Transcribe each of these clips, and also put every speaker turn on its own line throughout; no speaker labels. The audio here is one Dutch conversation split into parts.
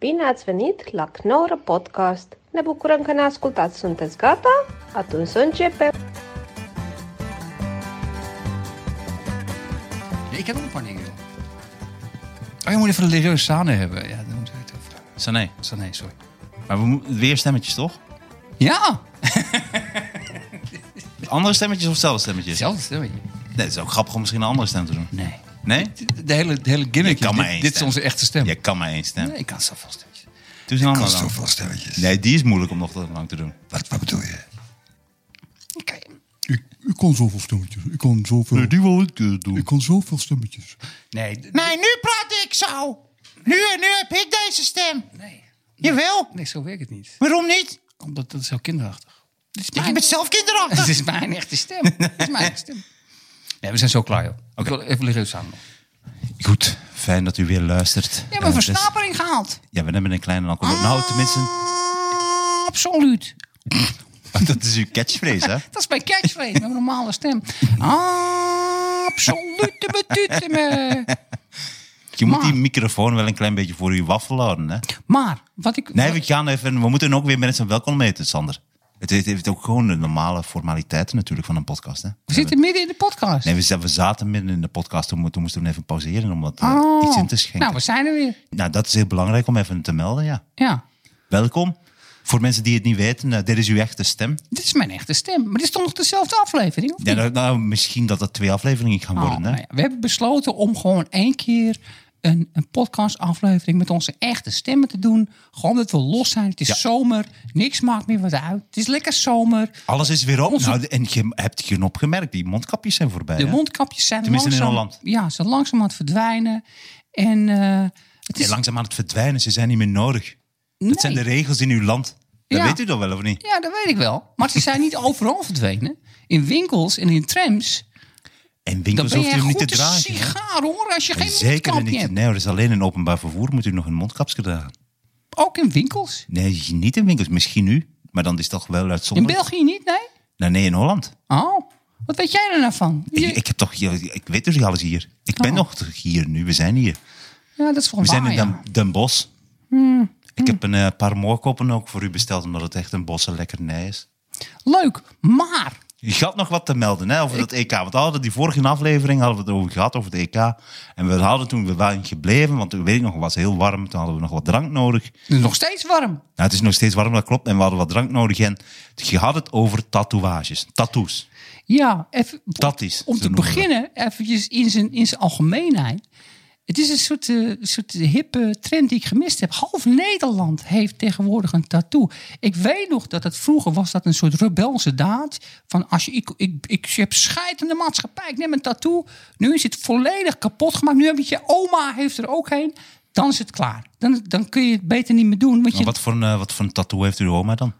Bine ați venit la Knorr Podcast! Ne bucurăm că ne ascultați! Sunteți gata? Atunci să începem!
Nee, ik heb ook een paar dingen. joh. Oh, je moet even een Leroy Sane hebben. Ja, dan moet ik het over.
Zo nee.
Zo, nee, sorry.
Maar we moeten weer stemmetjes, toch?
Ja!
Andere stemmetjes of zelfde stemmetjes?
Hetzelfde stemmetje.
Nee, het is ook grappig om misschien een andere stem te doen.
Nee.
Nee?
De hele, de hele gimmick
Je kan
is,
maar
dit,
één
dit is
stem.
onze echte stem.
Je kan maar één stem.
Nee, ik kan zoveel stemmetjes.
Doe eens een andere
Kost
dan.
zoveel stemmetjes.
Nee, die is moeilijk om nog te lang te doen.
Wat, wat bedoel je?
Oké.
Ik, ik kan zoveel stemmetjes. Ik kan zoveel,
wil ik eh, doen.
ik kan zoveel stemmetjes.
Nee, d-
Nee, nu praat ik zo. Nu, nu heb ik deze stem.
nee.
Jawel.
Nee, zo werkt het niet.
Waarom niet?
Omdat dat is heel kinderachtig. Dit is
Ik
mijn,
ben zelf
dit
kinderachtig.
is mijn echte stem. Dit is mijn echte stem. Nee, we zijn zo klaar, joh. Ik wil even Leroy Sane nog.
Goed, fijn dat u weer luistert.
Je hebt
Eh,
een
dus-
versnapering gehaald.
ja, we hebben een kleine alcohol.
Ah.
Nou, tenminste,
Absoluut.
dat is uw catchphrase, hè?
Dat is mijn catchphrase, mijn normale stem. Absolute betute me.
Je moet die
Maar-
microfoon wel een klein beetje voor uw waffel houden, hè?
Maar, wat ik...
Nee, we gaan even... We moeten ook weer mensen welkom meten, Sander. Het heeft, heeft ook gewoon de normale formaliteiten natuurlijk van een podcast, hè?
We zitten midden in de podcast.
Nee, we, za- we zaten midden in de podcast. Toen, mo- toen moesten we even pauzeren om wat eh,
Oh.
iets in te schenken.
Nou,
Nou,
we zijn er weer.
dat is heel belangrijk om even te melden, ja.
Ja.
Welkom. Voor mensen die het niet weten, eh, dit is uw echte stem.
Dit is mijn echte stem. Maar dit is toch nog dezelfde aflevering? Of
Ja,
niet?
nou, nou, misschien dat dat twee afleveringen gaan
Oh,
worden. hè?
nou ja, we hebben besloten om gewoon één keer een, een podcastaflevering met onze echte stemmen te doen. Gewoon dat we los zijn. Het is zomer. Niks maakt meer wat uit. Het is lekker zomer.
Alles is weer op.
Onze-
Nou, en je hebt je opgemerkt, die mondkapjes zijn voorbij.
De
hè?
mondkapjes zijn
Tenminste in
langzaam,
Holland.
Ja, ze zijn langzaam aan het verdwijnen. En eh, het
En
is...
langzaam aan het verdwijnen, ze zijn niet meer nodig.
Nee.
Dat zijn de regels in uw land. Dat
Ja.
weet u toch wel, of niet?
Ja, dat weet ik wel. Maar ze zijn niet overal verdwenen. In winkels en in trams.
En
Dan
winkels
ben
hoeft
je
u hem niet
goed
te
een
dragen. hè?
sigaar hoor. Als je geen
Zeker
mondkapje
niet.
hebt.
Nee, er is alleen in openbaar vervoer moet u nog een mondkapje dragen.
Ook in winkels.
Nee, niet in winkels. Misschien nu. Maar dan is het toch wel
In
uitzonderlijk.
België niet, nee?
Nee, nee, in Holland.
Oh, wat weet jij er nou van? Je-
Ik, ik, heb toch, hier- ik weet dus alles hier. Ik ben
Oh. Ah,
nog toch hier nu. We zijn hier.
ja, Hmm. dat is
We
volgens
zijn
mij.
in Den, Den Bosch. Ik heb een eh, paar moorkoppen ook voor u besteld. Omdat het echt een bosse lekkernij is.
Leuk, maar
Je had nog wat te melden hè, over dat EK. Want we hadden die vorige aflevering hadden we het over gehad, over het EK. En we hadden toen, we waren gebleven, want ik weet nog, het was heel warm. Toen hadden we nog wat drank nodig.
het is nog steeds warm.
Nou, het is nog steeds warm, dat klopt. En we hadden wat drank nodig. En je had het over tatoeages. Tattoos.
Ja, even,
Dat is,
om
zo
te
noemen we dat.
beginnen, eventjes in zijn, in zijn algemeenheid. Het is een soort, eh, soort hippe trend die ik gemist heb. Half Nederland heeft tegenwoordig een tattoo. Ik weet nog dat het vroeger was dat een soort rebelse daad. Van als je, ik, ik, ik heb scheid aan de maatschappij, ik neem een tattoo. Nu is het volledig kapot gemaakt. Nu heb je je oma heeft er ook heen. Dan is het klaar. Dan, dan kun je het beter niet meer doen. Want
Maar
je,
wat voor, een, eh, wat voor een tattoo heeft uw oma dan?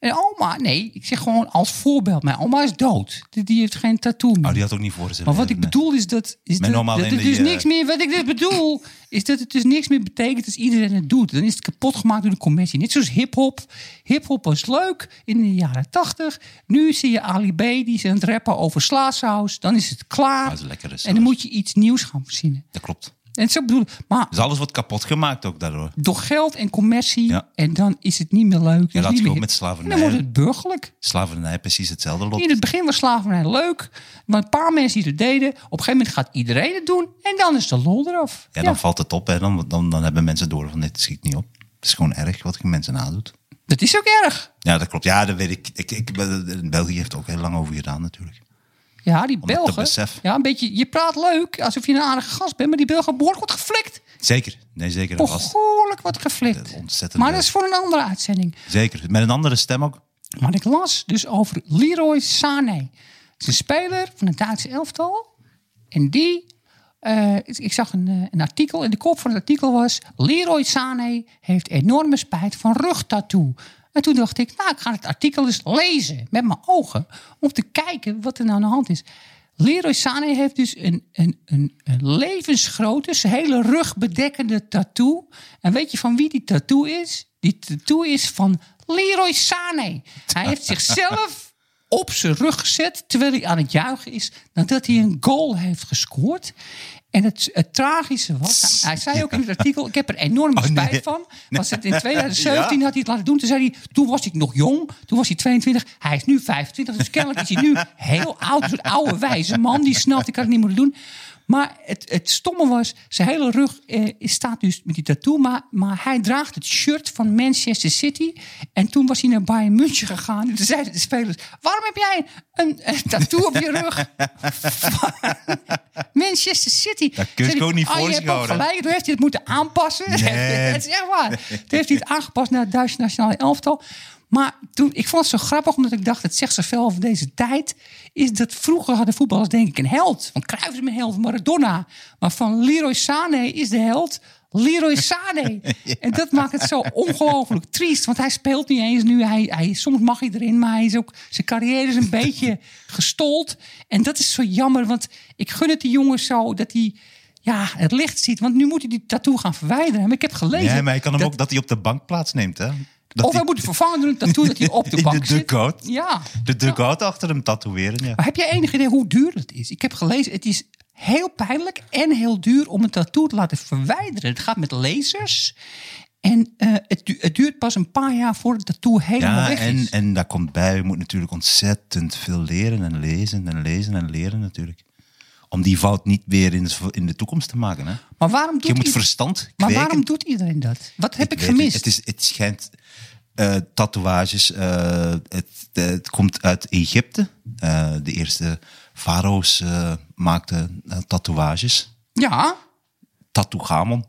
En oma, nee, ik zeg gewoon als voorbeeld. Mijn oma is dood. Die, die heeft geen tattoo meer.
Oh, die had ook niet voor zich.
Maar wat ik
Nee.
bedoel is dat... Is
Mijn
dat,
oma
dat
alleen
het
die,
dus
eh,
niks meer... Wat ik dus bedoel, is dat het dus niks meer betekent als iedereen het doet. Dan is het kapot gemaakt door de commercie. Net zoals hiphop. Hiphop was leuk in de jaren tachtig. Nu zie je Ali B, die is aan het rappen over slaasaus. Dan is het klaar.
Ah, dat is lekkere
en dan
saus.
moet je iets nieuws gaan verzinnen.
Dat klopt.
En zo bedoel ik. Maar
Dus alles wordt kapot gemaakt ook daardoor.
door geld en commercie.
Ja.
En dan is het niet meer leuk. Ja,
Ja, dat is ook met slavernij.
Dan wordt het burgerlijk.
Slavernij, precies hetzelfde lot.
In het begin was slavernij leuk, maar een paar mensen die het deden. Op een gegeven moment gaat iedereen het doen en dan is de lol eraf.
Ja, dan valt het op. Hè. Dan, dan, dan hebben mensen door van dit schiet niet op. Het is gewoon erg wat je mensen nadoet.
Dat is ook erg.
Ja, dat klopt. Ja, dat weet ik. ik, ik eh, België heeft er ook heel lang over gedaan natuurlijk.
Ja, die
Om dat te
Belgen.
beseffen.
Ja, een beetje, je praat leuk, alsof je een aardige gast bent, maar die Belgen behoorlijk wordt geflikt.
Zeker. Nee, zeker. Dat was
Behoorlijk wordt geflikt.
Eh, ontzettend
Maar
leuk.
dat is voor een andere uitzending.
zeker. Met een andere stem ook.
Maar ik las dus over Leroy Sané. Het is een speler van het Duitse elftal. En die, eh, ik zag een, eh, een artikel en de kop van het artikel was... Leroy Sané heeft enorme spijt van rugtattoo. En toen dacht ik, nou, ik ga het artikel eens lezen met mijn ogen... om te kijken wat er nou aan de hand is. Leroy Sané heeft dus een, een, een, een levensgrote, zijn hele rug bedekkende tattoo. En weet je van wie die tattoo is? Die tattoo is van Leroy Sané. Hij heeft zichzelf op zijn rug gezet terwijl hij aan het juichen is nadat hij een goal heeft gescoord. En het, het tragische was, hij zei ook in het artikel, ik heb er enorm
Oh, nee.
spijt van. Was het in 2017 had hij het laten doen. Toen zei hij, toen was ik nog jong, toen was hij 22. Hij is nu 25, dus kennelijk is hij nu heel oud. Een soort oude wijze man die snapt, ik had het niet moeten doen. Maar het, het stomme was, zijn hele rug eh, staat dus met die tattoo. Maar, maar hij draagt het shirt van Manchester City. En toen was hij naar Bayern München gegaan. En toen zeiden de spelers, waarom heb jij een, een tattoo op je rug? Manchester City.
Dat kun je
Zei
ook
hij,
niet
"Ah,
voor
je
zich
hebt ook
houden."
gelijk, toen heeft hij het moeten aanpassen.
Nee.
dat is echt waar. Toen heeft hij het aangepast naar het Duitse nationale elftal. Maar toen, ik vond het zo grappig, omdat ik dacht, het zegt zoveel over deze tijd. Is dat vroeger hadden voetballers denk ik een held. Van Cruijff is mijn held, Maradona. Maar van Leroy Sané is de held Leroy Sané. En dat maakt het zo ongelooflijk triest. Want hij speelt niet eens nu. Hij, hij, soms mag hij erin, maar hij is ook, zijn carrière is een beetje gestold. En dat is zo jammer, want ik gun het die jongen zo dat hij ja, het licht ziet. Want nu moet hij die tattoo gaan verwijderen. Maar ik heb gelezen...
Nee, maar hij kan hem
dat-
ook dat hij op de bank plaatsneemt, hè? Dat
of hij
hij
moet het vervangen door een tattoo dat hij op de
In
bank
de
zit.
dugout.
Ja.
de dugout achter hem tatoeëren, ja.
Maar heb jij enig idee hoe duur het is? Ik heb gelezen, het is heel pijnlijk en heel duur om een tattoo te laten verwijderen. Het gaat met lasers. En eh, het, du- het duurt pas een paar jaar voordat het tattoo helemaal
Ja,
weg
en,
is.
en daar komt bij, je moet natuurlijk ontzettend veel leren en lezen en lezen en leren natuurlijk. Om die fout niet weer in de, in de toekomst te maken, hè?
maar waarom
Je
doet,
moet
i-
verstand
maar
kweken.
waarom doet iedereen dat? Wat heb ik,
weet
gemist?
Het, het, is, het schijnt eh, tatoeages. eh, het, het komt uit Egypte. Eh, de eerste farao's eh, maakten eh, tatoeages.
ja,
Tatoegamon.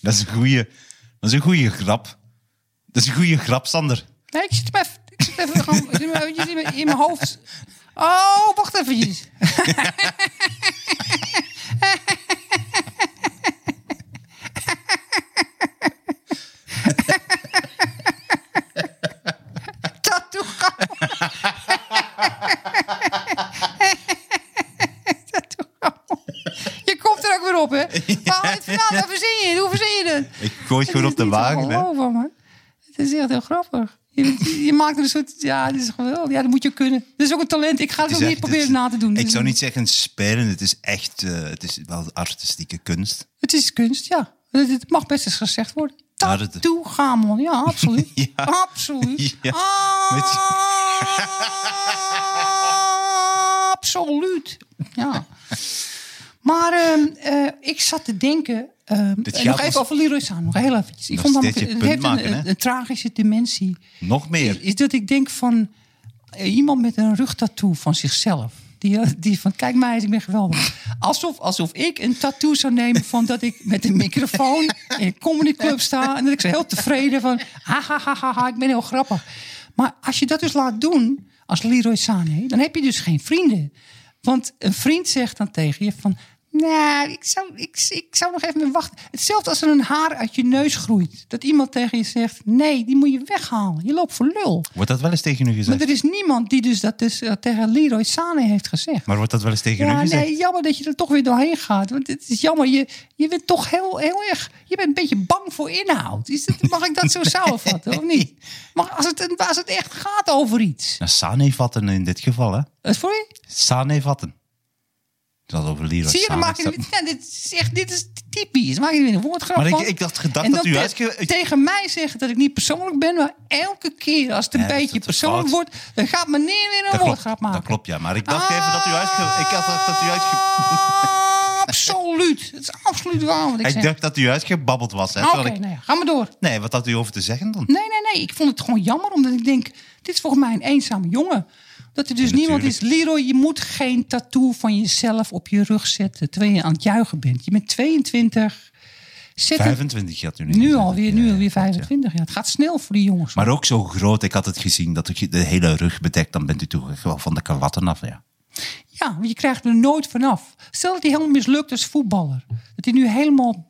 Dat is een goede, dat is een goede grap. Dat is een goede grap, Sander.
nee, ik zit hem even, ik zit even gewoon, ik zit hem eventjes in, mijn- in mijn hoofd. Oh, wacht eventjes. Tattoo Je komt er ook weer op, hè? Waar haal je het vandaan? Waar verzin je? het? Hoe verzin je dat?
Ik gooi het gewoon op de wagen. hè.
Over, man. Het is echt heel grappig. Je, je maakt er een soort... Ja, dat is geweldig. Ja, dat moet je kunnen. Dat is ook een talent. Ik ga het,
Het
ook
is
niet
echt-
proberen
het is-
na te doen.
Ik
Dus-
zou niet zeggen spelen, het is echt, eh, het is wel artistieke kunst.
Het is kunst, ja. Het, het mag best eens gezegd worden.
Ja, dat-
Tattoo gamel. Ja, absoluut.
Ja.
Absoluut. Ah!
Ja. Weet
Absoluut. Ja. Maar ehm, eh, ik zat te denken... ehm,
Dit
eh,
geldt
nog even
als-
over Leroy Saan. Nog heel eventjes. Ik
Nog
vond namelijk,
steeds je
het
punt
heeft een,
maken, hè?
een, een tragische dimensie.
Nog meer.
Is dat ik denk van eh, iemand met een rugtattoo van zichzelf. Die, eh, die van, kijk mij eens, ik ben geweldig. Alsof, alsof ik een tattoo zou nemen van dat ik met een microfoon in een comedyclub sta. En dat ik zo heel tevreden van, ha, ha, ha, ha, ha, ik ben heel grappig. Maar als je dat dus laat doen, als Leroy Sané, dan heb je dus geen vrienden. Want een vriend zegt dan tegen je van... Nou, ik zou, ik, ik zou nog even mee wachten. Hetzelfde als er een haar uit je neus groeit. Dat iemand tegen je zegt, nee, die moet je weghalen. Je loopt voor lul.
Wordt dat wel eens tegen u gezegd?
Maar
Maar,
er is niemand die dus dat dus, eh, tegen Leroy Sané heeft gezegd.
wordt dat wel eens tegen u
Ja,
gezegd?
nee, jammer dat je er toch weer doorheen gaat. Want het is jammer, je, je bent toch heel, heel erg... Je bent een beetje bang voor inhoud. Is dat, mag ik dat zo samenvatten, of niet? Maar als het, als het echt gaat over iets... Eh,
Nou, Sane vatten in dit geval, hè?
Wat voor je?
Sane vatten. Dat over Leroy
Zie je, dan
Sané
maak je
staat.
er weer- ja, dit is echt, dit is typisch. Dan maak je er weer een woordgrap
Maar ik-
van.
ik dacht- gedacht
En
dat
dan
u
te-
uitge- ik-
tegen mij zeggen dat ik niet persoonlijk ben, maar elke keer als het een
Ja, dat is
beetje
het
persoonlijk
fout.
wordt, dan gaat meneer weer een
Dat klopt,
woordgrap maken.
dat klopt, ja. Maar ik dacht even
Ah.
dat u uitge... Ik had dacht dat u uitge...
Absoluut. Het is absoluut waar wat ik,
Ik
zeg.
dacht dat u uitgebabbeld was, hè?
Oké,
terwijl ik-
nou ja, ga maar door.
Nee, wat had u over te zeggen dan?
Nee, nee, nee. Ik vond het gewoon jammer, omdat ik denk, dit is volgens mij een eenzame jongen. Dat er dus
Ja,
niemand is.
natuurlijk.
Leroy, je moet geen tattoo van jezelf op je rug zetten terwijl je aan het juichen bent. Je bent 22. Zet het
25 had u niet
nu
gezegd.
alweer,
Ja,
nu
ja,
alweer
klopt, ja.
25. Ja, het gaat snel voor die jongens.
Maar ook zo groot, ik had het gezien, dat je de hele rug bedekt, dan bent u toch echt wel van de krawatten af, ja.
Ja, want je krijgt er nooit vanaf. Stel dat hij helemaal mislukt als voetballer. Dat hij nu helemaal...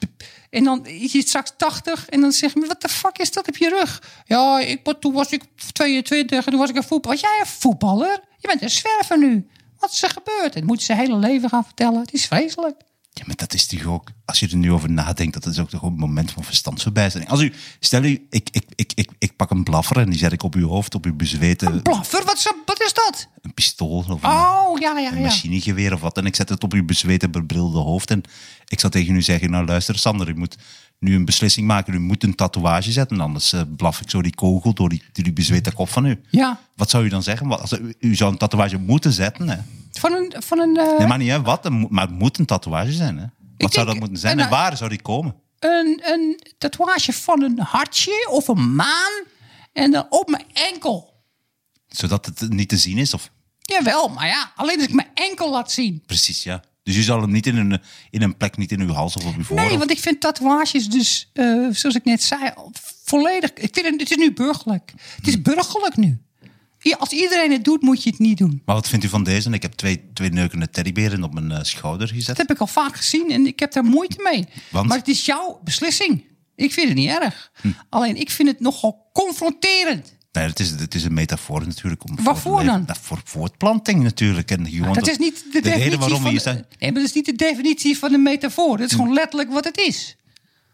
En dan is hij straks 80 en dan zeg je... Wat de fuck is dat op je rug? Ja, ik, was- toen was ik 22 en toen was ik een voetballer. Was jij een voetballer? Je bent een zwerver nu. Wat is er gebeurd? Dat moet je zijn hele leven gaan vertellen. Het is vreselijk.
Ja, maar dat is toch ook, als je er nu over nadenkt, dat is ook toch een moment van verstandsverbijstering. Als u, stel u, ik, ik, ik, ik, ik pak een blaffer en die zet ik op uw hoofd, op uw bezweten,
Blaffer, wat is, dat- wat is dat?
een pistool of een,
Oh, ja, ja,
een
ja.
machinegeweer of wat. En ik zet het op uw bezweten, bebrilde hoofd. En ik zou tegen u zeggen, nou luister Sander, u moet nu een beslissing maken. U moet een tatoeage zetten, anders eh, blaf ik zo die kogel door die, door die bezweten kop van u.
Ja,
Wat zou u dan zeggen? Wat- Als, u, u zou een tatoeage moeten zetten, hè?
van een... Van een eh,
Nee, maar niet hè, wat, een mo- maar het moet een tatoeage zijn. Hè? Wat
denk-
zou dat moeten zijn
en,
en,
eh,
waar zou die komen?
een, een tatoeage van een hartje of een maan. En dan op mijn enkel.
Zodat het niet te zien is? Of?
Jawel, maar ja, alleen als ik mijn enkel laat zien.
Precies, ja. Dus u zal hem niet in een, in een plek, niet in uw hals of op uw voorhoofd.
Nee, want ik vind tatoeages dus, eh, zoals ik net zei, volledig... Ik vind het, het is nu burgerlijk. Het is burgerlijk nu. Ja, als iedereen het doet, moet je het niet doen.
Maar wat vindt u van deze? Ik heb twee, twee neukende teddyberen op mijn eh, schouder gezet.
Dat heb ik al vaak gezien en ik heb daar moeite mee.
Want? Hm.
Maar het is jouw beslissing. Ik vind het niet erg. Alleen ik vind het nogal confronterend.
Nee, het is, het is een metafoor natuurlijk. Om
Waarvoor
voor te leven.
dan?
Nou, voor voortplanting natuurlijk. En gewoon
dat is niet de, definitie
reden waarom Hm. we
van.
hier
Nee,
zijn.
maar dat is niet de definitie van een metafoor. Dat is gewoon letterlijk wat het is.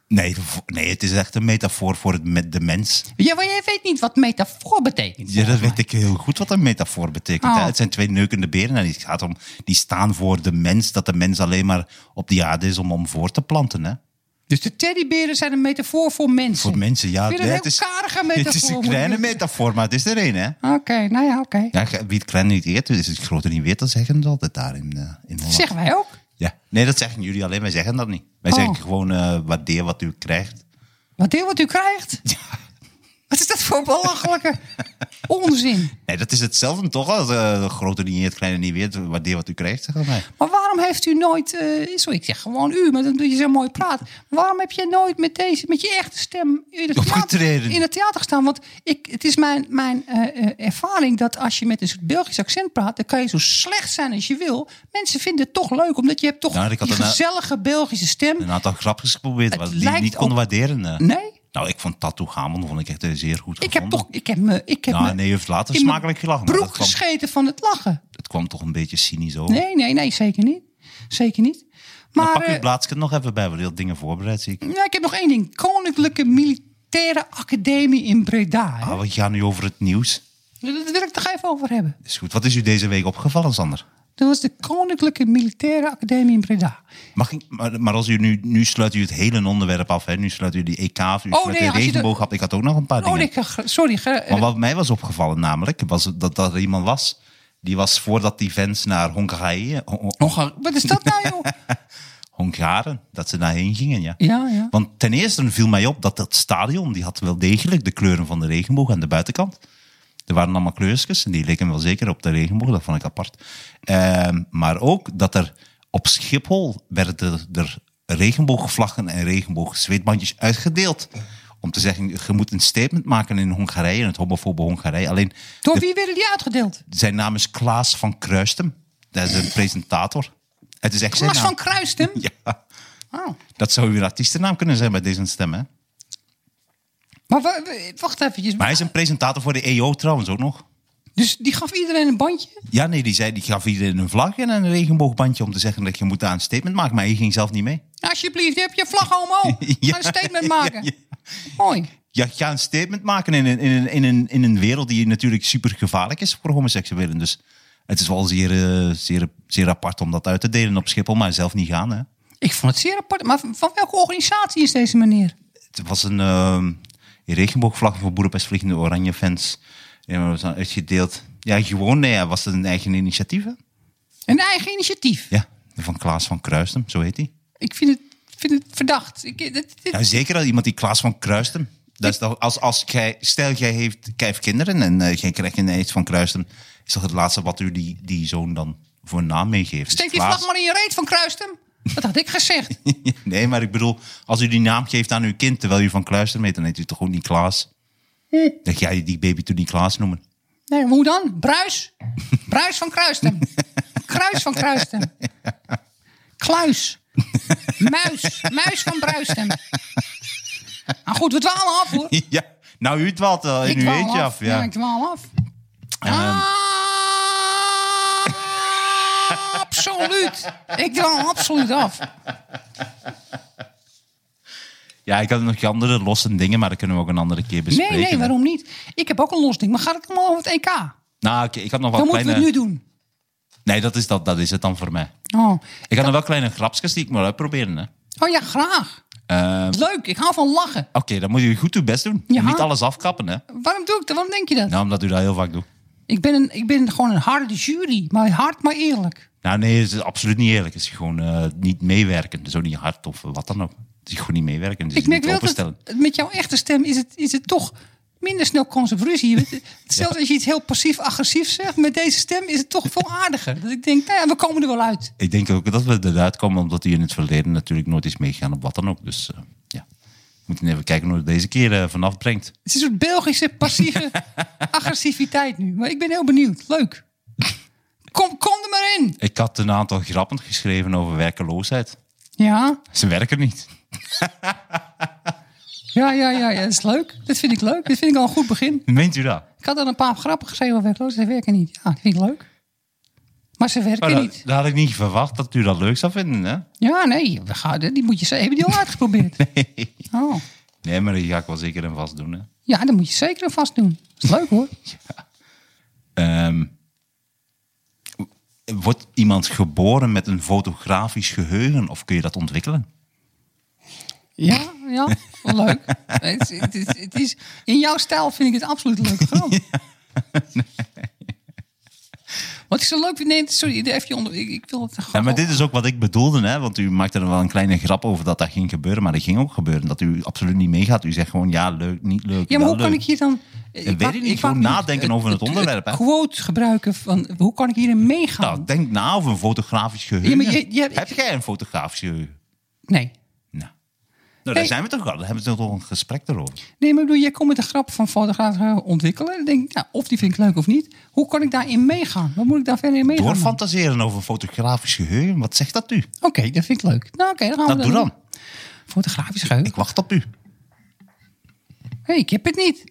Nee, voor- nee, het is echt een metafoor voor het, met de mens.
Ja, maar jij weet niet wat metafoor betekent.
Ja, dat weet ik heel goed wat een metafoor betekent. hè.
Oh.
Het zijn twee neukende beren en het gaat om, die staan voor de mens, dat de mens alleen maar op die aarde is om, om voor te planten. Hè?
Dus de teddyberen zijn een metafoor voor mensen.
Voor mensen, ja.
Ik vind het
nee,
een heel karige
Het is een
metafoor,
kleine
moet ik-
metafoor, maar het is er een, hè.
Oké, nou ja, oké.
Ja, ge- wie het kleine niet eet, is het grote niet weet, dat zeggen ze altijd daar in, eh, in
Dat
Holland.
zeggen wij ook.
Ja. Nee, dat zeggen jullie alleen, wij zeggen dat niet. Wij
Oh.
zeggen gewoon, eh, waardeer wat u krijgt.
Wat deel wat u krijgt? Wat is dat voor belachelijke onzin?
Nee, dat is hetzelfde toch als eh, de grote niet eet, kleine niet weet, waardeer wat u krijgt, zeggen wij.
Maar waarom heeft u nooit, eh sorry, ik zeg gewoon u, maar dan doe je zo mooi praat. Waarom heb je nooit met deze, met je echte stem in het theater,
Opgetreden.
in het theater gestaan? Want ik, het is mijn, mijn eh, eh, ervaring dat als je met een soort Belgisch accent praat, dan kan je zo slecht zijn als je wil. Mensen vinden het toch leuk, omdat je hebt toch
Nou, ik had
die
een, eh,
gezellige Belgische stem.
Een aantal grapjes geprobeerd,
Het
wat die
lijkt
niet konden
op-
waarderen. eh.
Nee,
Nou, ik vond Tattoo Hamel vond ik echt eh, zeer goed
ik heb
gevonden.
toch, ik heb me, ik heb
Nou,
me
nee, je heeft later
in mijn
smakelijk gelachen. maar
broek
dat kwam,
gescheten van het lachen.
het kwam toch een beetje cynisch over.
Nee, nee, nee, zeker niet. Zeker niet. Maar,
Dan pak
eh,
je het nog even bij, want je had dingen voorbereid, zie ik.
Ja, ik heb nog één ding. Koninklijke Militaire Academie in Breda. hè?
Ah, we gaan nu over het nieuws.
Dat wil ik toch even over hebben.
Is goed. Wat is u deze week opgevallen, Sander?
Dat was de Koninklijke Militaire Academie in Breda.
Mag ik, maar, maar als u nu, nu sluit u het hele onderwerp af. Hè? Nu sluit u die EK af, u
Oh,
sluit
nee,
de
als je de-
regenboog af. Ik had ook nog een paar
Oh,
dingen.
nee, ge- sorry. ge-
Maar wat mij was opgevallen namelijk, was dat, dat er iemand was... Die was voordat die fans naar Hongarije, Hon- Hon-
nog een- wat is dat nou, joh?
Hongaren, dat ze daarheen gingen, ja.
Ja, ja.
Want ten eerste viel mij op dat dat stadion, die had wel degelijk de kleuren van de regenboog aan de buitenkant. Er waren allemaal kleurtjes en die leken wel zeker op de regenboog, dat vond ik apart. Ehm, maar ook dat er op Schiphol werden er regenboogvlaggen en regenboogzweetbandjes uitgedeeld. Om te zeggen, je moet een statement maken in Hongarije, in het homofobe Hongarije. Alleen,
Door
de-
wie werden die uitgedeeld?
zijn naam is Klaas van Kruistem. Dat is een presentator. Het is echt zijn
Klaas
naam.
van Kruistem?
nou. Ja,
Oh.
dat zou uw artiestennaam kunnen zijn bij deze stem, hè?
Maar wa- wa- wacht eventjes.
Maar hij is een presentator voor de EO trouwens ook nog.
Dus die gaf iedereen een bandje?
Ja, nee, die, zei, die gaf iedereen een vlag en een regenboogbandje om te zeggen dat je moet daar een statement maken. Maar hij ging zelf niet mee.
Alsjeblieft, heb je vlag omhoog. Ga een statement maken.
Ja, ja.
Mooi.
Ja, ga een statement maken in een, in, een, in, een, in een wereld die natuurlijk super gevaarlijk is voor homoseksuelen. Dus het is wel zeer, eh, zeer, zeer apart om dat uit te delen op Schiphol, maar zelf niet gaan. Hè.
Ik vond het zeer apart. Maar van van welke organisatie is deze meneer?
Het was een ehm, regenboogvlag voor Boedapest Vliegende Oranje fans. En dat was dan uitgedeeld. Ja, gewoon, nee, ja, was het een eigen initiatief? hè?
Een eigen initiatief.
Ja, van Klaas van Kruistem, zo heet hij.
Ik vind het, vind het verdacht. Ik, dit- dit-
Ja, zeker als iemand die Klaas van Kruisten. Dat is toch, als, als jij, stel, jij heeft, jij heeft kinderen en eh, jij krijgt ineens van Kruisten. Is dat het laatste wat u die, die zoon dan voor naam meegeeft?
steek
Is
die
Klaas?
vlag maar in je reet van Kruistem. Dat had ik gezegd.
nee, maar ik bedoel, als u die naam geeft aan uw kind terwijl u van Kruisten heet, dan heet u toch ook niet Klaas?
Hm.
Dan ga je die baby toen niet Klaas noemen.
Nee, hoe dan? Bruis. Bruis van Kruistem. Kruis van Kruistem. Kluis. Muis. Muis van Bruistem. Nou goed, we dwalen af hoor.
ja, nou, u dwaalt al in
Ik
uw
dwaal
eentje
af. Ah,
af. ja.
ik dwaal af.
Ehm.
Op zo'n absoluut. Ik draai hem absoluut af.
Ja, ik had nog andere losse dingen, maar dat kunnen we ook een andere keer bespreken.
Nee, nee,
hè.
waarom niet? Ik heb ook een los ding, maar gaat het allemaal over het EK? Dan
Nou, oké, ik had nog wel
moeten
kleine...
we het nu doen.
Nee, dat is, dat, dat is het dan voor mij.
Oh,
Ik had nog wel kleine grapjes die ik maar uitproberen. Hè.
oh ja, graag.
Eh,
Leuk, ik hou van lachen.
Oké, dan moet u goed uw best doen.
Ja.
Niet alles afkappen, hè.
Waarom doe ik dat? Waarom denk je dat?
Nou, omdat u dat heel vaak doet.
Ik, ben een, ik ben gewoon een harde jury, maar hard maar eerlijk.
Nou nee, het is absoluut niet eerlijk. Het is gewoon eh, niet meewerken. Dus ook niet hard of wat dan ook. Het is gewoon niet meewerken. Het is
Ik merk
niet
wel dat
Dus openstellen.
met jouw echte stem is het, is het toch minder snel kans op ruzie. Je weet- Zelfs als je iets heel passief-agressief zegt, met deze stem is het toch veel aardiger. Dat ik denk, nou ja, we komen er wel uit.
Ik denk ook dat we eruit komen, omdat u in het verleden natuurlijk nooit is meegegaan op wat dan ook. Dus eh, ja, we moeten even kijken hoe het deze keer eh, vanaf brengt.
Het is een soort Belgische passieve agressiviteit nu. Maar ik ben heel benieuwd. Leuk. Kom, kom er maar in.
Ik had een aantal grappen geschreven over werkeloosheid.
Ja,
Ze werken niet.
ja, ja, ja, ja. Dat is leuk. Dat vind ik leuk. Dat vind ik al een goed begin.
Meent u dat?
Ik had al een paar grappen geschreven over werkloos. Ze werken niet. Ja, dat vind ik leuk. Maar ze werken
Maar Oh, dat,
niet.
dat had ik niet verwacht dat u dat leuk zou vinden, hè?
Ja, nee. We gaan, die moet je, ze- hebben die al uitgeprobeerd?
Nee.
Oh.
Nee, maar die ga ik wel zeker en vast doen, hè.
Ja, dat moet je zeker en vast doen. Dat is leuk hoor.
Ehm, wordt iemand geboren met een fotografisch geheugen of kun je dat ontwikkelen?
Ja, ja. Wel leuk. Het, is- het, is- het is, in jouw stijl vind ik het absoluut een leuke grap. Wat ik zo leuk vind... Nee, sorry, even je onder... Ik, ik wil het
Ja,
gewoon...
maar dit is ook wat ik bedoelde, hè? want u maakte er wel een kleine grap over dat dat ging gebeuren, maar dat ging ook gebeuren, dat u absoluut niet meegaat. U zegt gewoon ja, leuk, niet leuk.
Ja, maar
wel
hoe kan
leuk.
ik hier dan...
weet
maak-
ik niet.
maak
Gewoon
nu
nadenken over het onderwerp, hè?
quote gebruiken van... Hoe kan ik hierin meegaan?
Nou, denk na over een fotografisch geheugen.
Ja, maar je- je hebt-
Heb jij een fotografisch geheugen?
Nee.
Nou, nou daar
Nee.
zijn we toch al. Daar hebben we toch al een gesprek erover.
Nee, maar ik bedoel, jij komt met een grap van fotograaf ontwikkelen. Dan denk ik, nou, of die vind ik leuk of niet. Hoe kan ik daarin meegaan? Wat moet ik daar verder in meegaan?
Door
dan?
fantaseren over een fotografisch geheugen, wat zegt dat u?
Oké, dat vind ik leuk. Nou, oké, dan gaan we
Nou,
dat
doe dan.
doen. Fotografisch geheugen.
Ik wacht op u.
Hé, ik heb het niet.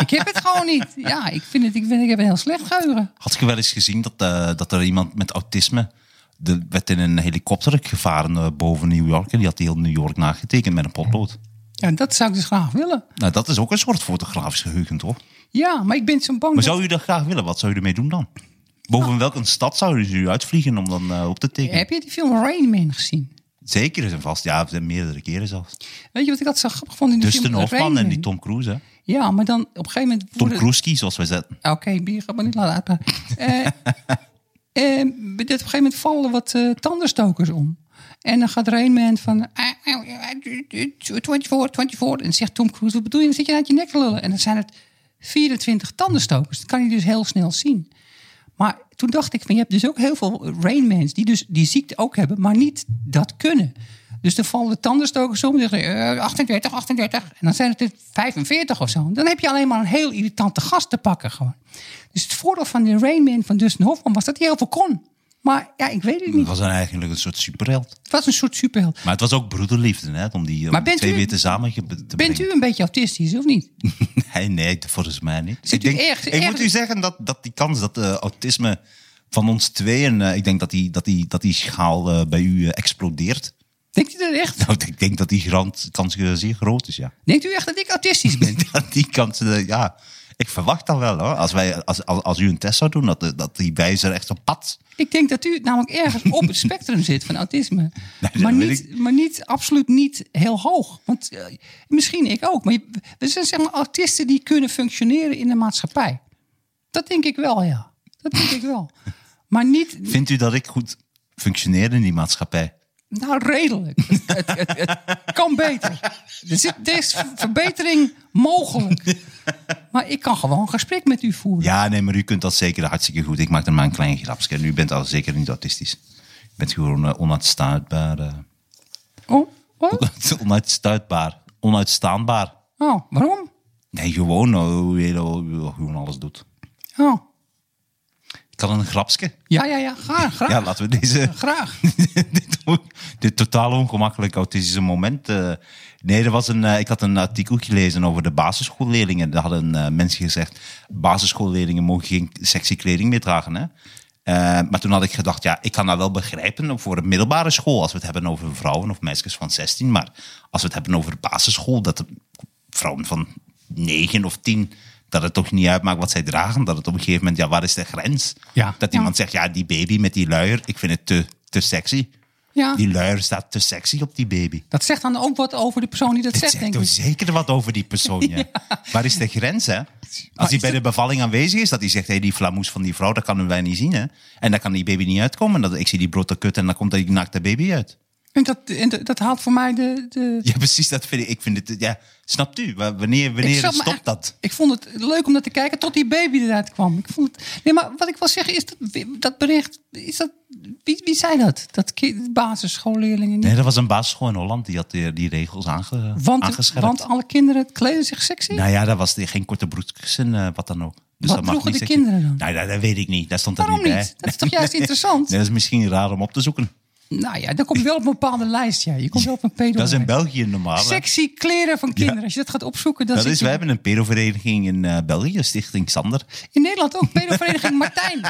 ik heb het gewoon niet. Ja, ik vind het, ik, vind, ik heb een heel slecht geheugen.
Had je wel eens gezien dat, eh, dat er iemand met autisme. De, werd in een helikopter gevaren eh, boven New York. En die had heel New York nagetekend met een potlood.
Ja, dat zou ik dus graag willen.
Nou, dat is ook een soort fotografisch geheugen, toch?
Ja, maar ik ben zo bang.
Maar
dat-
zou u dat graag willen? Wat zou u ermee doen dan? Boven welke stad zou u u uitvliegen om dan eh, op te tekenen?
Heb je die film Rain Man gezien?
Zeker is een vast. Ja, meerdere keren zelfs.
Weet Dus je wat ik dat zo grappig vond in die
Dus de
film
Hofman
Rain
en
Man?
die Tom Cruise. Hè?
Ja, maar dan op een gegeven moment...
Tom
worden-
Cruise, zoals wij zetten.
Oké, bier gaat maar niet laten uitpraten. Eh, eh, op een gegeven moment vallen wat eh, tandenstokers om. En dan gaat Rain Man van... eh, eh, eh, 24, 24. En zegt Tom Cruise, wat bedoel je? Dan zit je aan je nek te lullen. En dan zijn het 24 tandenstokers. Dat kan je dus heel snel zien. Maar toen dacht ik van, je hebt dus ook heel veel Rainmans... die dus die ziekte ook hebben, maar niet dat kunnen. Dus dan vallen de tandenstokers om en zeggen... eh, 38, 38. En dan zijn het er 45 of zo. Dan heb je alleen maar een heel irritante gast te pakken gewoon. Dus het voordeel van de Rainman van Dustin Hoffman... was dat hij heel veel kon. Maar ja, ik weet het
Dat
niet.
was dan eigenlijk een soort superheld.
Het was een soort superheld.
Maar het was ook broederliefde, hè? Om die
Maar
om die
bent
twee
u-
weer samen te brengen.
Bent u een beetje autistisch of niet?
Nee, nee, volgens mij niet.
Zit
ik denk,
u erg-
ik
erg-
moet u zeggen dat, dat die kans dat eh, autisme van ons tweeën, eh ik denk dat die, dat die, dat die schaal eh, bij u eh, explodeert.
Denkt u dat echt?
Nou, ik denk dat die grand, kans eh, zeer groot is, ja.
Denkt u echt dat ik autistisch ben?
Dat die kans, eh, ja. Ik verwacht dat wel, hoor. Als, wij, als, als, als u een test zou doen, dat, de- dat die wijzer echt op pad.
Ik denk dat u namelijk ergens op het spectrum zit van autisme.
dat
maar,
weet
niet, maar niet, absoluut niet heel hoog. Want eh, misschien ik ook. Maar je- we zijn zeg maar autisten die kunnen functioneren in de maatschappij. Dat denk ik wel, ja. Dat denk ik wel. Maar niet,
Vindt u dat ik goed functioneer in die maatschappij?
nou redelijk. Het, het, het, het kan beter. Er, zit, er is verbetering mogelijk. Maar ik kan gewoon een gesprek met u voeren.
Ja, nee, maar u kunt dat zeker hartstikke goed. Ik maak er maar een klein grapje. En u bent al zeker niet autistisch. U bent gewoon eh, onuitstaanbaar. eh.
Oh, wat?
onuitstuitbaar. Onuitstaanbaar.
Oh, waarom?
Nee, gewoon eh, hoe je hoe je gewoon alles doet.
Oh.
Ik had een grapsje.
Ja, ja, ja. Graag, graag.
Ja, laten we deze,
Graag.
dit, dit totaal ongemakkelijk autistische moment. eh, nee, er was een, eh, ik had een artikel gelezen over de basisschoolleerlingen. Daar hadden eh, mensen gezegd, basisschoolleerlingen mogen geen sexy kleding meer dragen. Hè? Eh, maar toen had ik gedacht, ja, ik kan dat wel begrijpen voor een middelbare school. Als we het hebben over vrouwen of meisjes van 16. Maar als we het hebben over basisschool, dat de vrouwen van 9 of 10. Dat het toch niet uitmaakt wat zij dragen. Dat het op een gegeven moment, ja, waar is de grens?
Ja.
Dat
Ja.
iemand zegt, ja, die baby met die luier, ik vind het te, te sexy.
Ja,
Die luier staat te sexy op die baby.
dat zegt dan ook wat over de persoon die dat
Het
zegt,
zegt
denk
toch
ik.
zeker wat over die persoon. Ja. Waar is de grens, hè? Als hij
is
bij de bevalling aanwezig is, dat hij zegt: hey, die flamoes van die vrouw, dat kunnen wij niet zien, hè? En dan kan die baby niet uitkomen. Dat, ik zie die blote kut en dan komt die naakte baby uit.
En dat, en dat, dat haalt voor mij de... de...
Ja, precies, dat vind ik. ik vind het, ja, snapt u? Wa- Wanneer,
Ik
wanneer
zat me
stopt
echt-
dat?
Ik vond het leuk om naar te kijken tot die baby eruit kwam. Ik vond het, nee, maar wat ik wil zeggen is dat, dat bericht... Is dat, wie, wie zei dat? Dat ki- basisschoolleerlingen niet...
Nee, dat was een basisschool in Holland, die had eh, die, die regels aange,
want,
aangescherpt.
want alle kinderen kleden zich sexy?
Nou ja, dat was die- geen korte broekjes en eh, wat dan ook. Dus
Wat
dat mag
droegen
niet
de
zeggen.
kinderen dan?
Nou, dat, dat weet ik niet. Dat stond er
Waarom
niet bij.
niet? Dat is toch juist interessant?
Nee, dat is misschien raar om op te zoeken.
Nou ja, dan kom je wel op een bepaalde lijst. Ja. Je komt wel op een pedo
Dat is in België normaal. hè?
Sexy kleren van kinderen. Als je dat gaat opzoeken, dan
Dat
zit
is,
je-
wij hebben een pedovereniging in eh, België, Stichting Sander.
In Nederland ook. Pedovereniging Martijn.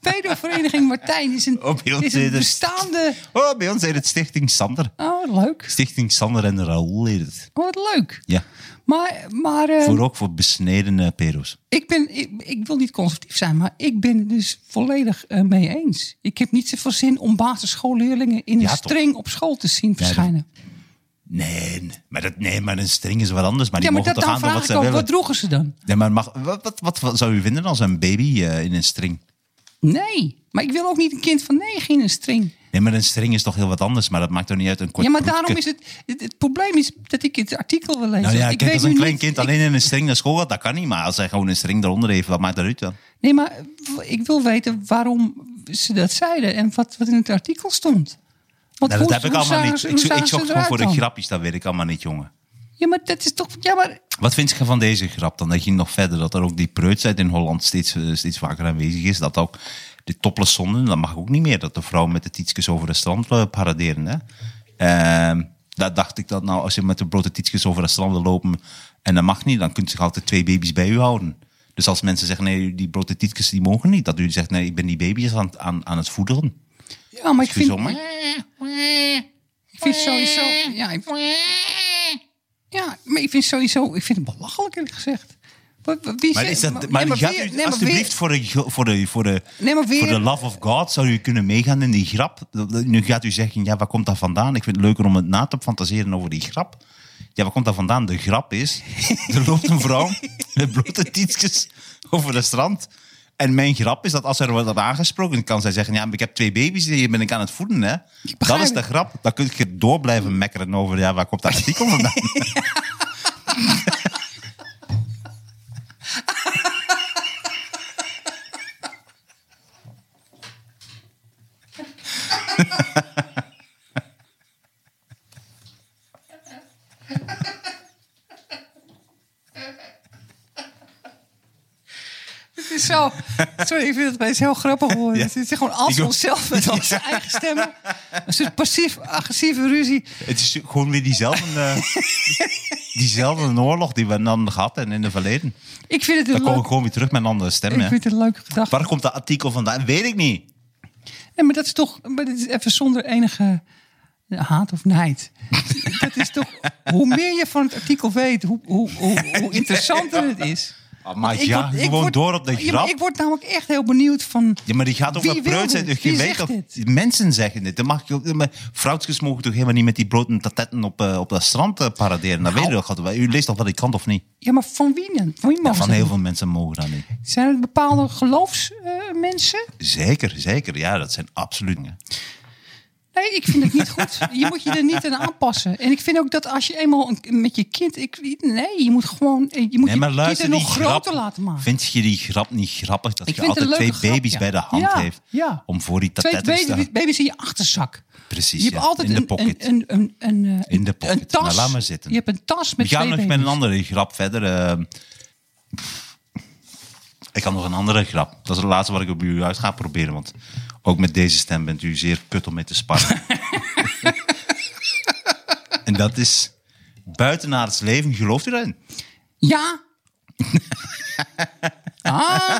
Pedovereniging Martijn is een,
Op heel
is een
Nederland.
bestaande...
Oh, bij ons heet het Stichting Sander.
Oh, wat leuk.
Stichting Sander en Raoul heet het.
Oh, wat leuk.
Ja,
Maar, maar eh,
voor ook voor besneden eh, pedo's.
ik, ben, ik, ik wil niet conservatief zijn, maar ik ben het dus volledig eh, mee eens. Ik heb niet zoveel zin om basisschoolleerlingen in
Ja,
een
toch?
string op school te zien verschijnen. Ja,
Nee, nee, maar, dat, nee, maar een string is wat anders. Maar die
maar
mogen
dat
toch
dan
aan doen wat
vraag ik
ze
ook.
willen.
Wat droegen ze dan?
Nee, maar mag, wat, wat, wat, wat zou u vinden als een baby eh, in een string?
Nee, maar ik wil ook niet een kind van negen in een string.
Nee, maar een string is toch heel wat anders. Maar dat maakt toch niet uit een kort
Ja, maar
broekje.
daarom is het, het... het probleem is dat ik het artikel wil lezen.
Nou ja,
ik
kijk,
weet
als een
nu
klein
niet-
kind
ik-
alleen in een string naar school gaat, dat kan niet. Maar als hij gewoon een string eronder heeft, wat maakt dat uit dan? Nou,
nee, maar w- ik wil weten waarom ze dat zeiden en wat, wat in het artikel stond. Want
Nou,
hoe-
dat heb ik
hoe
allemaal
zagen
niet.
ze-
Ik,
hoe
zo- ik
zagen
zocht
ze
gewoon voor de
eruit dan?
grapjes, dat weet ik allemaal niet, jongen.
Ja, maar dat is toch... Ja, maar
Wat vind je van deze grap dan? Dat ging nog verder, dat er ook die preutsheid in Holland steeds, eh, steeds vaker aanwezig is. Dat ook de topless zonden, dat mag ook niet meer. Dat de vrouwen met de tietjes over het strand eh, paraderen. Hè? Ehm, dat dacht ik dat nou, als je met de blote tietjes over het strand wil lopen en dat mag niet, dan kunt u zich altijd twee baby's bij u houden. Dus als mensen zeggen, nee, die blote tietjes die mogen niet. Dat u zegt, nee, ik ben die baby's aan, het- aan, aan het voederen.
Ja, maar ik
Excuus,
vind,
hoor, maar-
ik vind sowieso. Ja, ik, ja, maar ik vind sowieso. Ik vind het belachelijk eerlijk gezegd. Wat- wat- Wie
Maar,
zegt-
is dat,
nee,
maar,
maar
gaat
wie-
u
nee, maar wie-
alsjeblieft voor de, voor, de, voor, de,
Nee, maar weer-
voor de love of God, zou u kunnen meegaan in die grap? Dat- dat- Nu gaat u zeggen, ja, waar komt dat vandaan? Ik vind het leuker om het na te fantaseren over die grap. Ja, waar komt dat vandaan? De grap is, er loopt een vrouw met blote tietjes over het strand. En mijn grap is dat als er wordt aangesproken, kan zij zeggen, ja, maar ik heb twee baby's, die ben ik aan het voeden, hè? Dat
begrijp
is de
het.
grap. Dan kun je door blijven mekkeren over, ja, waar komt dat artikel vandaan?
Het is zo. Sorry, ik vind het opeens heel grappig hoor. Het is gewoon als
Ik ook.
onszelf met onze eigen stemmen. Een soort passief-agressieve ruzie.
Het is gewoon weer diezelfde, eh, diezelfde oorlog die we dan gehad hebben in het verleden.
Ik vind het
Dan
een
komen we
leuk.
gewoon weer terug met een andere stem.
Ik
hè.
vind het een leuke gedachte.
Waar komt dat artikel vandaan? Weet ik niet.
Nee, maar dat is toch. Maar dit is even zonder enige haat of nijd. dat is toch. Hoe meer je van het artikel weet, hoe, hoe, hoe, hoe interessanter het is.
Ah, maar ja,
word-
gewoon
word-
door op de
Ja, maar
grap.
ik word namelijk echt heel benieuwd van.
Ja, maar die gaat
Wie
over
wil
preut zijn.
dit?
Je
Wie
weet
zegt
toch,
dit?
mensen zeggen dit. Dan mag je, ook- maar vrouwtjes mogen toch helemaal niet met die blote tatetten op, eh, op dat strand eh, paraderen.
Nou.
Dat weet je toch. altijd. U leest toch wel die krant of niet?
Ja, maar van wie dan? Van wie mogen
Van
ze
heel
dat?
veel mensen mogen dat niet.
Zijn het bepaalde geloofsmensen?
Zeker, zeker. Ja, dat zijn absoluut. dingen.
nee, ik vind het niet goed. Je moet je er niet aan aanpassen. En ik vind ook dat als je eenmaal een, met je kind. Ik, nee, je moet gewoon. Je moet
Nee, maar
je kind
luister,
er
die
nog
grap-
groter laten maken.
Vind je die grap niet grappig dat
Ik
je
vind het
altijd
een
twee
leuke grap,
baby's
ja.
bij de hand
Ja,
heeft
ja.
om voor die
Twee
tatettes te
baby, baby's in je achterzak.
Precies,
Je hebt
ja.
altijd
In de
een,
pocket.
Een, een, een, een, eh,
In de pocket.
Een tas.
Nou, laat maar zitten.
Je hebt een tas
We
met
gaan
twee
nog
baby's.
met een andere grap verder. eh. ik had nog een andere grap. Dat is de laatste wat ik op u uit ga proberen. Want ook met deze stem bent u zeer kut om mee te sparren. en dat is buitenaards leven. Gelooft u daarin?
Ja. ah.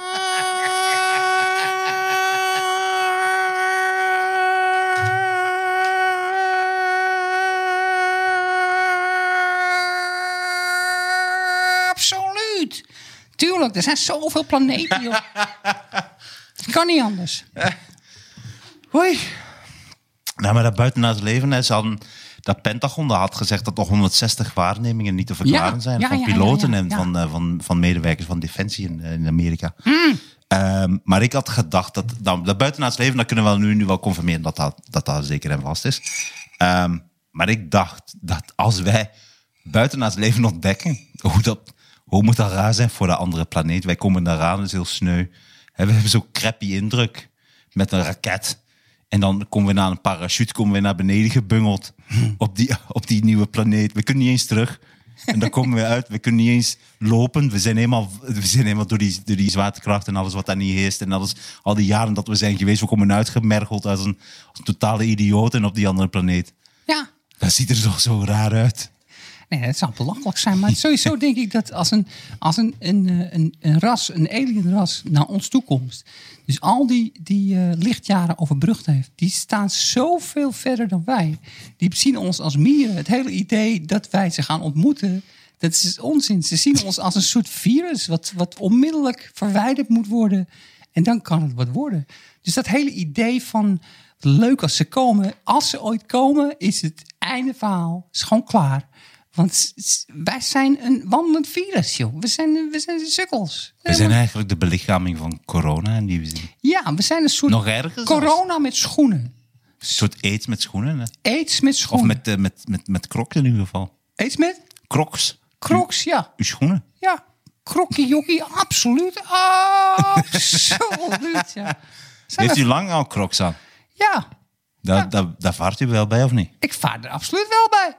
Tuurlijk, er zijn zoveel planeten, joh. Dat kan niet anders.
Hoi. Nou, maar dat buitenaards leven, hè, ze hadden, dat Pentagon dat had gezegd dat nog 160 waarnemingen niet te verklaren
Ja,
zijn
ja,
van
ja, ja,
piloten
ja,
en
ja.
Van, eh, van, van medewerkers van Defensie in, eh, in Amerika.
Mm.
Ehm, maar ik had gedacht dat nou, dat buitenaards leven, dat kunnen we nu, nu wel confirmeren dat dat, dat dat zeker en vast is. Ehm, maar ik dacht dat als wij buitenaards leven ontdekken, hoe, dat, hoe moet dat raar zijn voor de andere planeet? Wij komen daar aan, dat is heel sneu. Hè, We hebben zo'n crappy indruk met een raket. En dan komen we na een parachute komen we naar beneden gebungeld
Hm.
op, die, op die nieuwe planeet. We kunnen niet eens terug. En dan komen we uit. We kunnen niet eens lopen. We zijn helemaal, we zijn helemaal door, die, door die zwaartekracht en alles wat daar niet heerst. En alles, al die jaren dat we zijn geweest, we komen uitgemergeld als een, als een totale idioot en op die andere planeet.
Ja.
Dat ziet er toch zo raar uit.
Nee, dat zou belachelijk zijn. Maar sowieso denk ik dat als een, als een, een, eh, een, een ras, een alienras naar ons toekomst. Dus al die, die eh, lichtjaren overbrugd heeft. Die staan zoveel verder dan wij. Die zien ons als mieren. Het hele idee dat wij ze gaan ontmoeten. Dat is onzin. Ze zien ons als een soort virus. Wat, wat onmiddellijk verwijderd moet worden. En dan kan het wat worden. Dus dat hele idee van leuk als ze komen. Als ze ooit komen, is het einde verhaal. Is gewoon klaar. Want s- s- wij zijn een wandelend virus, joh. We zijn, we zijn sukkels.
We zijn eigenlijk de belichaming van corona. En die we zien.
Ja, we zijn een soort
Nog erger zelfs.
corona met schoenen.
Een soort aids met schoenen. hè.
Aids met
Of
schoenen.
met, eh, met, met, met crocs in ieder geval.
Aids met
Crocs.
crocs, ja.
Uw schoenen.
Ja, krokkie jokie, absoluut. Absoluut, ja. Zijn
Heeft
we-
u lang al crocs aan?
Ja,
Daar, daar, daar vaart u wel bij of niet?
ik vaar er absoluut wel bij.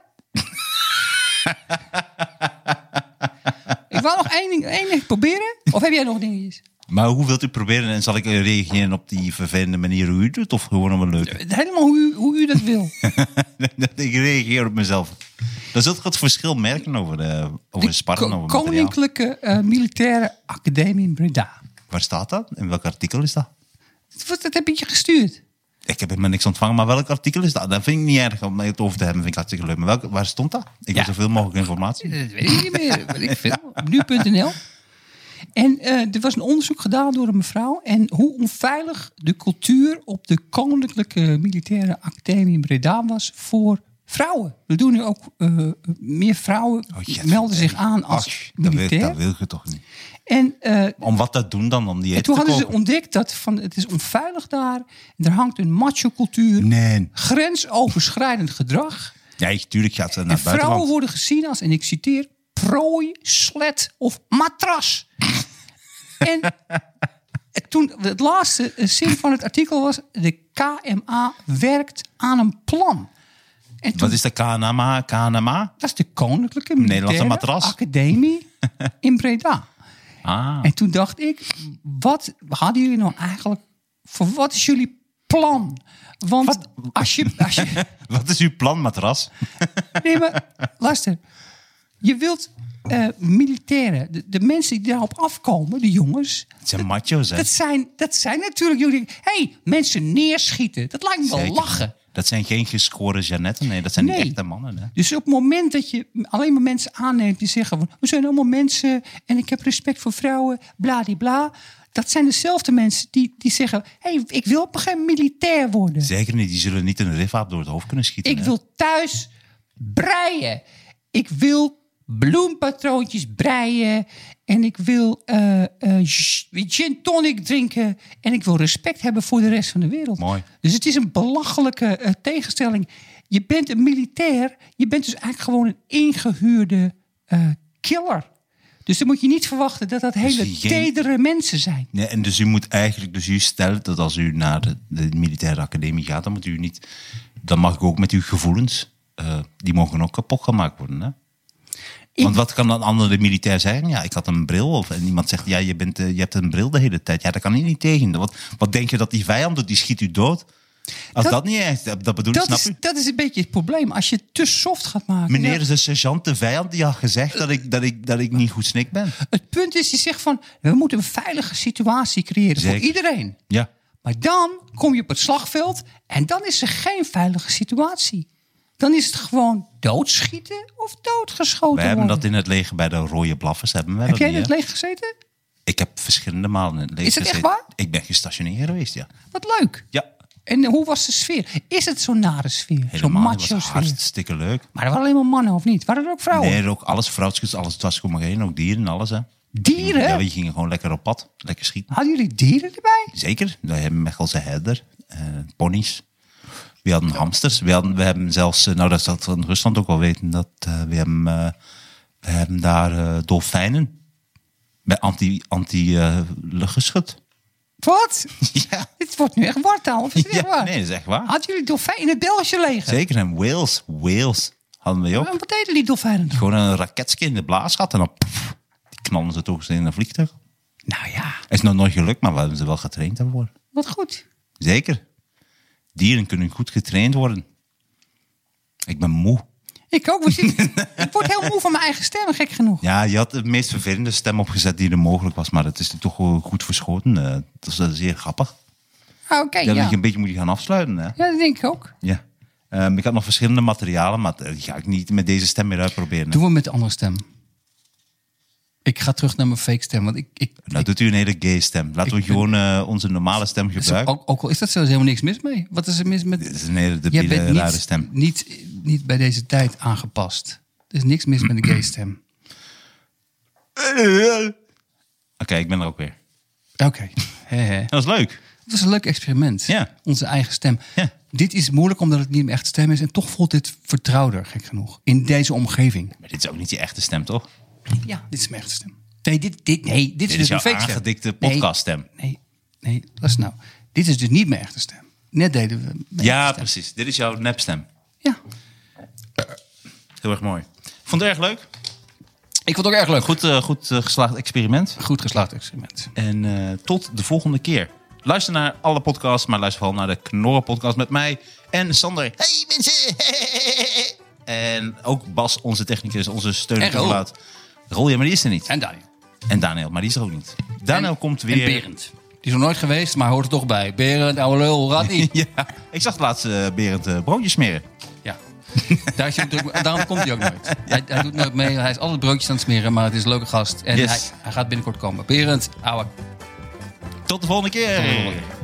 ik wil nog één ding, één ding proberen. Of heb jij nog dingetjes?
Maar hoe wilt u proberen? En zal ik eh, reageren op die vervelende manier hoe u doet? Of gewoon op een leuke?
Helemaal hoe u, hoe u dat wil.
ik reageer op mezelf. Dan zult u het verschil merken over, de, over sparren,
Ko-
over materiaal.
Koninklijke eh, Militaire Academie in Breda.
Waar staat dat? In welk artikel is dat?
Wat, dat heb ik je gestuurd.
Ik heb helemaal niks ontvangen, maar welk artikel is dat? Dat vind ik niet erg om het over te hebben, vind ik hartstikke leuk. Maar welk, waar stond dat? Ik wil zoveel mogelijk informatie.
Dat weet ik niet meer. Weet ik veel. Op Nu.nl. En eh, er was een onderzoek gedaan door een mevrouw. En hoe onveilig de cultuur op de Koninklijke Militaire Academie in Breda was voor vrouwen. We doen nu ook eh, meer vrouwen
jetje.
melden zich aan als
Oh, Ach, dat, wil,
militair.
dat wil je toch niet?
en eh,
Om wat dat doen dan? Om
en
die eten
toen
te
hadden ze
kopen?
ontdekt dat van, het is onveilig daar. En er hangt een macho cultuur.
Nee.
Grensoverschrijdend gedrag.
Ja, ik- tuurlijk gaat ze naar
En
het buitenland.
vrouwen worden gezien als, en ik citeer, prooi, slet of matras. en toen, het laatste eh, zin van het artikel was, de KMA werkt aan een plan. En toen,
Wat is de KNMA? KNMA?
dat is de Koninklijke
Nederlandse
Militaire
matras.
Academie in Breda.
Ah.
En toen dacht ik, wat hadden jullie nou eigenlijk, voor wat is jullie plan? Want als je, als je,
Wat is uw plan, matras?
Nee, maar luister. Je wilt eh, militairen, de, de mensen die daarop afkomen, de jongens.
Het zijn macho's, hè?
Dat zijn, dat zijn natuurlijk jullie. hey, mensen neerschieten. Dat lijkt me wel
Zeker.
lachen.
Dat zijn geen geschoren Janetten, nee. Dat zijn
Nee.
die echte mannen, hè?
Dus op het moment dat je alleen maar mensen aanneemt die zeggen: van, We zijn allemaal mensen en ik heb respect voor vrouwen, bla die bla. Dat zijn dezelfde mensen die, die zeggen: hey, ik wil op een gegeven moment militair worden.
Zeker niet, die zullen niet een rifaap door het hoofd kunnen schieten.
Ik
hè.
wil thuis breien. Ik wil bloempatroontjes breien. En ik wil eh, eh, sh- gin tonic drinken. En ik wil respect hebben voor de rest van de wereld.
Mooi.
Dus het is een belachelijke eh, tegenstelling. Je bent een militair. Je bent dus eigenlijk gewoon een ingehuurde eh, killer. Dus dan moet je niet verwachten dat dat hele
Dus geen-
tedere mensen zijn.
Nee, en dus u moet eigenlijk, dus u stelt dat als u naar de, de militaire academie gaat, dan moet u niet, dan mag ik ook met uw gevoelens, eh, die mogen ook kapot gemaakt worden, hè? Want wat kan dan andere militair zeggen? Ja, ik had een bril. Of, en iemand zegt, ja, je, bent, eh, je hebt een bril de hele tijd. Ja, daar kan hij niet tegen. Wat, wat denk je dat die vijand doet? Die schiet u dood. Als
Dat-
dat, niet echt, dat bedoel ik,
Dat
Hm, snap
is,
u?
dat is een beetje het probleem. Als je het te soft gaat maken. dan-
Meneer de sergeant, de vijand, die had gezegd dat ik, dat ik, dat ik niet goed snik ben.
Het punt is, je zegt van, we moeten een veilige situatie creëren
Zeker.
voor iedereen.
Ja.
Maar dan kom je op het slagveld en dan is er geen veilige situatie. Dan is het gewoon doodschieten of doodgeschoten
Wij hebben
worden.
dat in het leger bij de rode blaffers. Hebben wij
Heb
dat
jij in
niet,
het
hè?
leeg gezeten?
Ik heb verschillende malen in het leven
Is het echt
gezeten.
waar?
Ik ben gestationeerd geweest, ja.
Wat leuk.
Ja,
En hoe was de sfeer? Is het zo'n nare sfeer? Zo'n
helemaal. Het
macho
was
sfeer?
hartstikke leuk.
Maar er waren alleen maar mannen, of niet? Waren er ook vrouwen?
Nee, er ook alles, vrouwtjes, alles. Het was gewoon maar geen, ook dieren, alles. Hè.
Dieren?
Ja, we gingen gewoon lekker op pad. Lekker schieten.
Hadden jullie dieren erbij?
Zeker. We hebben Mechelse herder, eh ponies. We hadden hamsters. We, hadden, we hebben zelfs, eh, nou dat zal van Rusland ook wel weten, dat eh, we, hebben, eh, we hebben daar eh, dolfijnen met anti, anti eh, luchtgeschut.
Wat?
Ja.
Dit wordt nu echt wartaal. Of is het echt
ja,
waar?
nee, dat is echt waar.
Hadden jullie dolfijnen in het Belgische leger?
Zeker. En Wales, Wales hadden we ook.
En Wat deden die dolfijnen dan?
Gewoon een raketje in de blaas gehad en dan pff, die knallen ze toch eens in een vliegtuig.
Nou ja,
Het is nog nooit gelukt, maar we hebben ze wel getraind daarvoor.
wat goed.
Zeker. Dieren kunnen goed getraind worden. Ik ben moe.
Ik ook. we zitten- ik word heel moe van mijn eigen stem, gek genoeg.
Ja, je had de meest vervelende stem opgezet die er mogelijk was, maar het is er toch wel goed verschoten. eh. Dat is eh, zeer grappig.
Ah, Oké,
Ik denk
ja.
dat je een beetje moet gaan afsluiten. Hè?
Ja, dat denk ik ook.
Ja. Ehm, ik had nog verschillende materialen, maar eh, die ga ik niet met deze stem meer uitproberen. hè.
Doen we met de andere stem. Ik ga terug naar mijn fake stem, want ik... ik,
Nou, doet u een hele gay stem. Laten we gewoon eh, onze normale stem
ik-
gebruiken.
ook, ook al is dat zelfs helemaal niks mis mee. Wat is er mis met...
Dit is een hele
Jij
debiele,
bent
rare
niet,
stem.
Niet, niet bij deze tijd aangepast. Er is niks mis met de gay stem.
Oké, ik ben er ook weer.
Oké. Hè, hè.
Dat was leuk.
Het was een leuk experiment.
Ja.
Onze eigen stem.
Ja.
Dit is moeilijk omdat het niet mijn echte stem is. En toch voelt dit vertrouwder, gek genoeg. In deze omgeving.
Maar dit is ook niet je echte stem, toch?
Ja, dit is mijn echte stem. Nee, dit, dit, nee, dit, is
Dit
dus
is
een
jouw
fake stem.
aangedikte
Nee,
podcaststem.
Nee, nee, dat is nou. Dit is dus niet mijn echte stem. Net deden we. mijn
Ja,
echte stem.
precies. Dit is jouw nepstem.
Ja.
Heel erg mooi. Vond het erg leuk.
Ik vond het ook erg leuk. Goed,
Goed, eh, goed eh, geslaagd experiment.
goed geslaagd experiment.
En eh, tot de volgende keer. Luister naar alle podcasts, maar luister vooral naar de Knorren podcast met mij en Sander. Hey mensen! En ook Bas, onze technicus, onze steun
En Roel.
toelaat. Rol, ja, maar die is er niet.
En Daniel.
En Daniel, maar die is er ook niet. Daniel nou komt weer.
En Berend. Die is nog nooit geweest, maar hoort er toch bij. Berend, ouwe lul, raad niet.
Ja, ik zag laatst eh, Berend eh, broodjes smeren.
Ja. Daar is hij druk mee. Daarom komt hij ook nooit. Hij, hij doet nooit mee. Hij is altijd broodjes aan het smeren, maar het is een leuke gast. En
Yes.
hij, hij gaat binnenkort komen. Berend, ouwe
Tot de volgende keer.
lul.